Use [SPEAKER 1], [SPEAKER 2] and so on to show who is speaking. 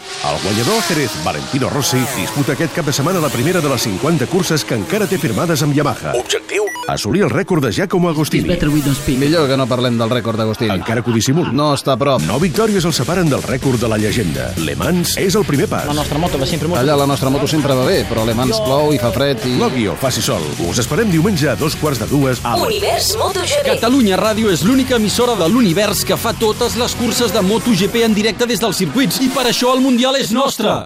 [SPEAKER 1] El guanyador Jerez Valentino Rossi disputa aquest cap de setmana la primera de les 50 curses que encara té firmades amb Yamaha. Objectiu? Assolir el rècord de Giacomo Agostini.
[SPEAKER 2] Better we don't speak.
[SPEAKER 3] Millor que no parlem del rècord d'Agustini.
[SPEAKER 1] Encara que ho dissimuli.
[SPEAKER 3] No està a prop.
[SPEAKER 1] Nou victòries el separen del rècord de la llegenda. Le Mans és el primer pas.
[SPEAKER 2] La nostra moto va sempre molt...
[SPEAKER 3] Allà la nostra moto sempre va bé, però a Alemans plou i fa fred i...
[SPEAKER 1] Logui o faci sol. Us esperem diumenge a dos quarts de dues a la...
[SPEAKER 4] Univers MotoGP.
[SPEAKER 5] Catalunya Ràdio és l'única emissora de l'univers que fa totes les curses de MotoGP en directe des dels circuits i per això el Mundial és nostre.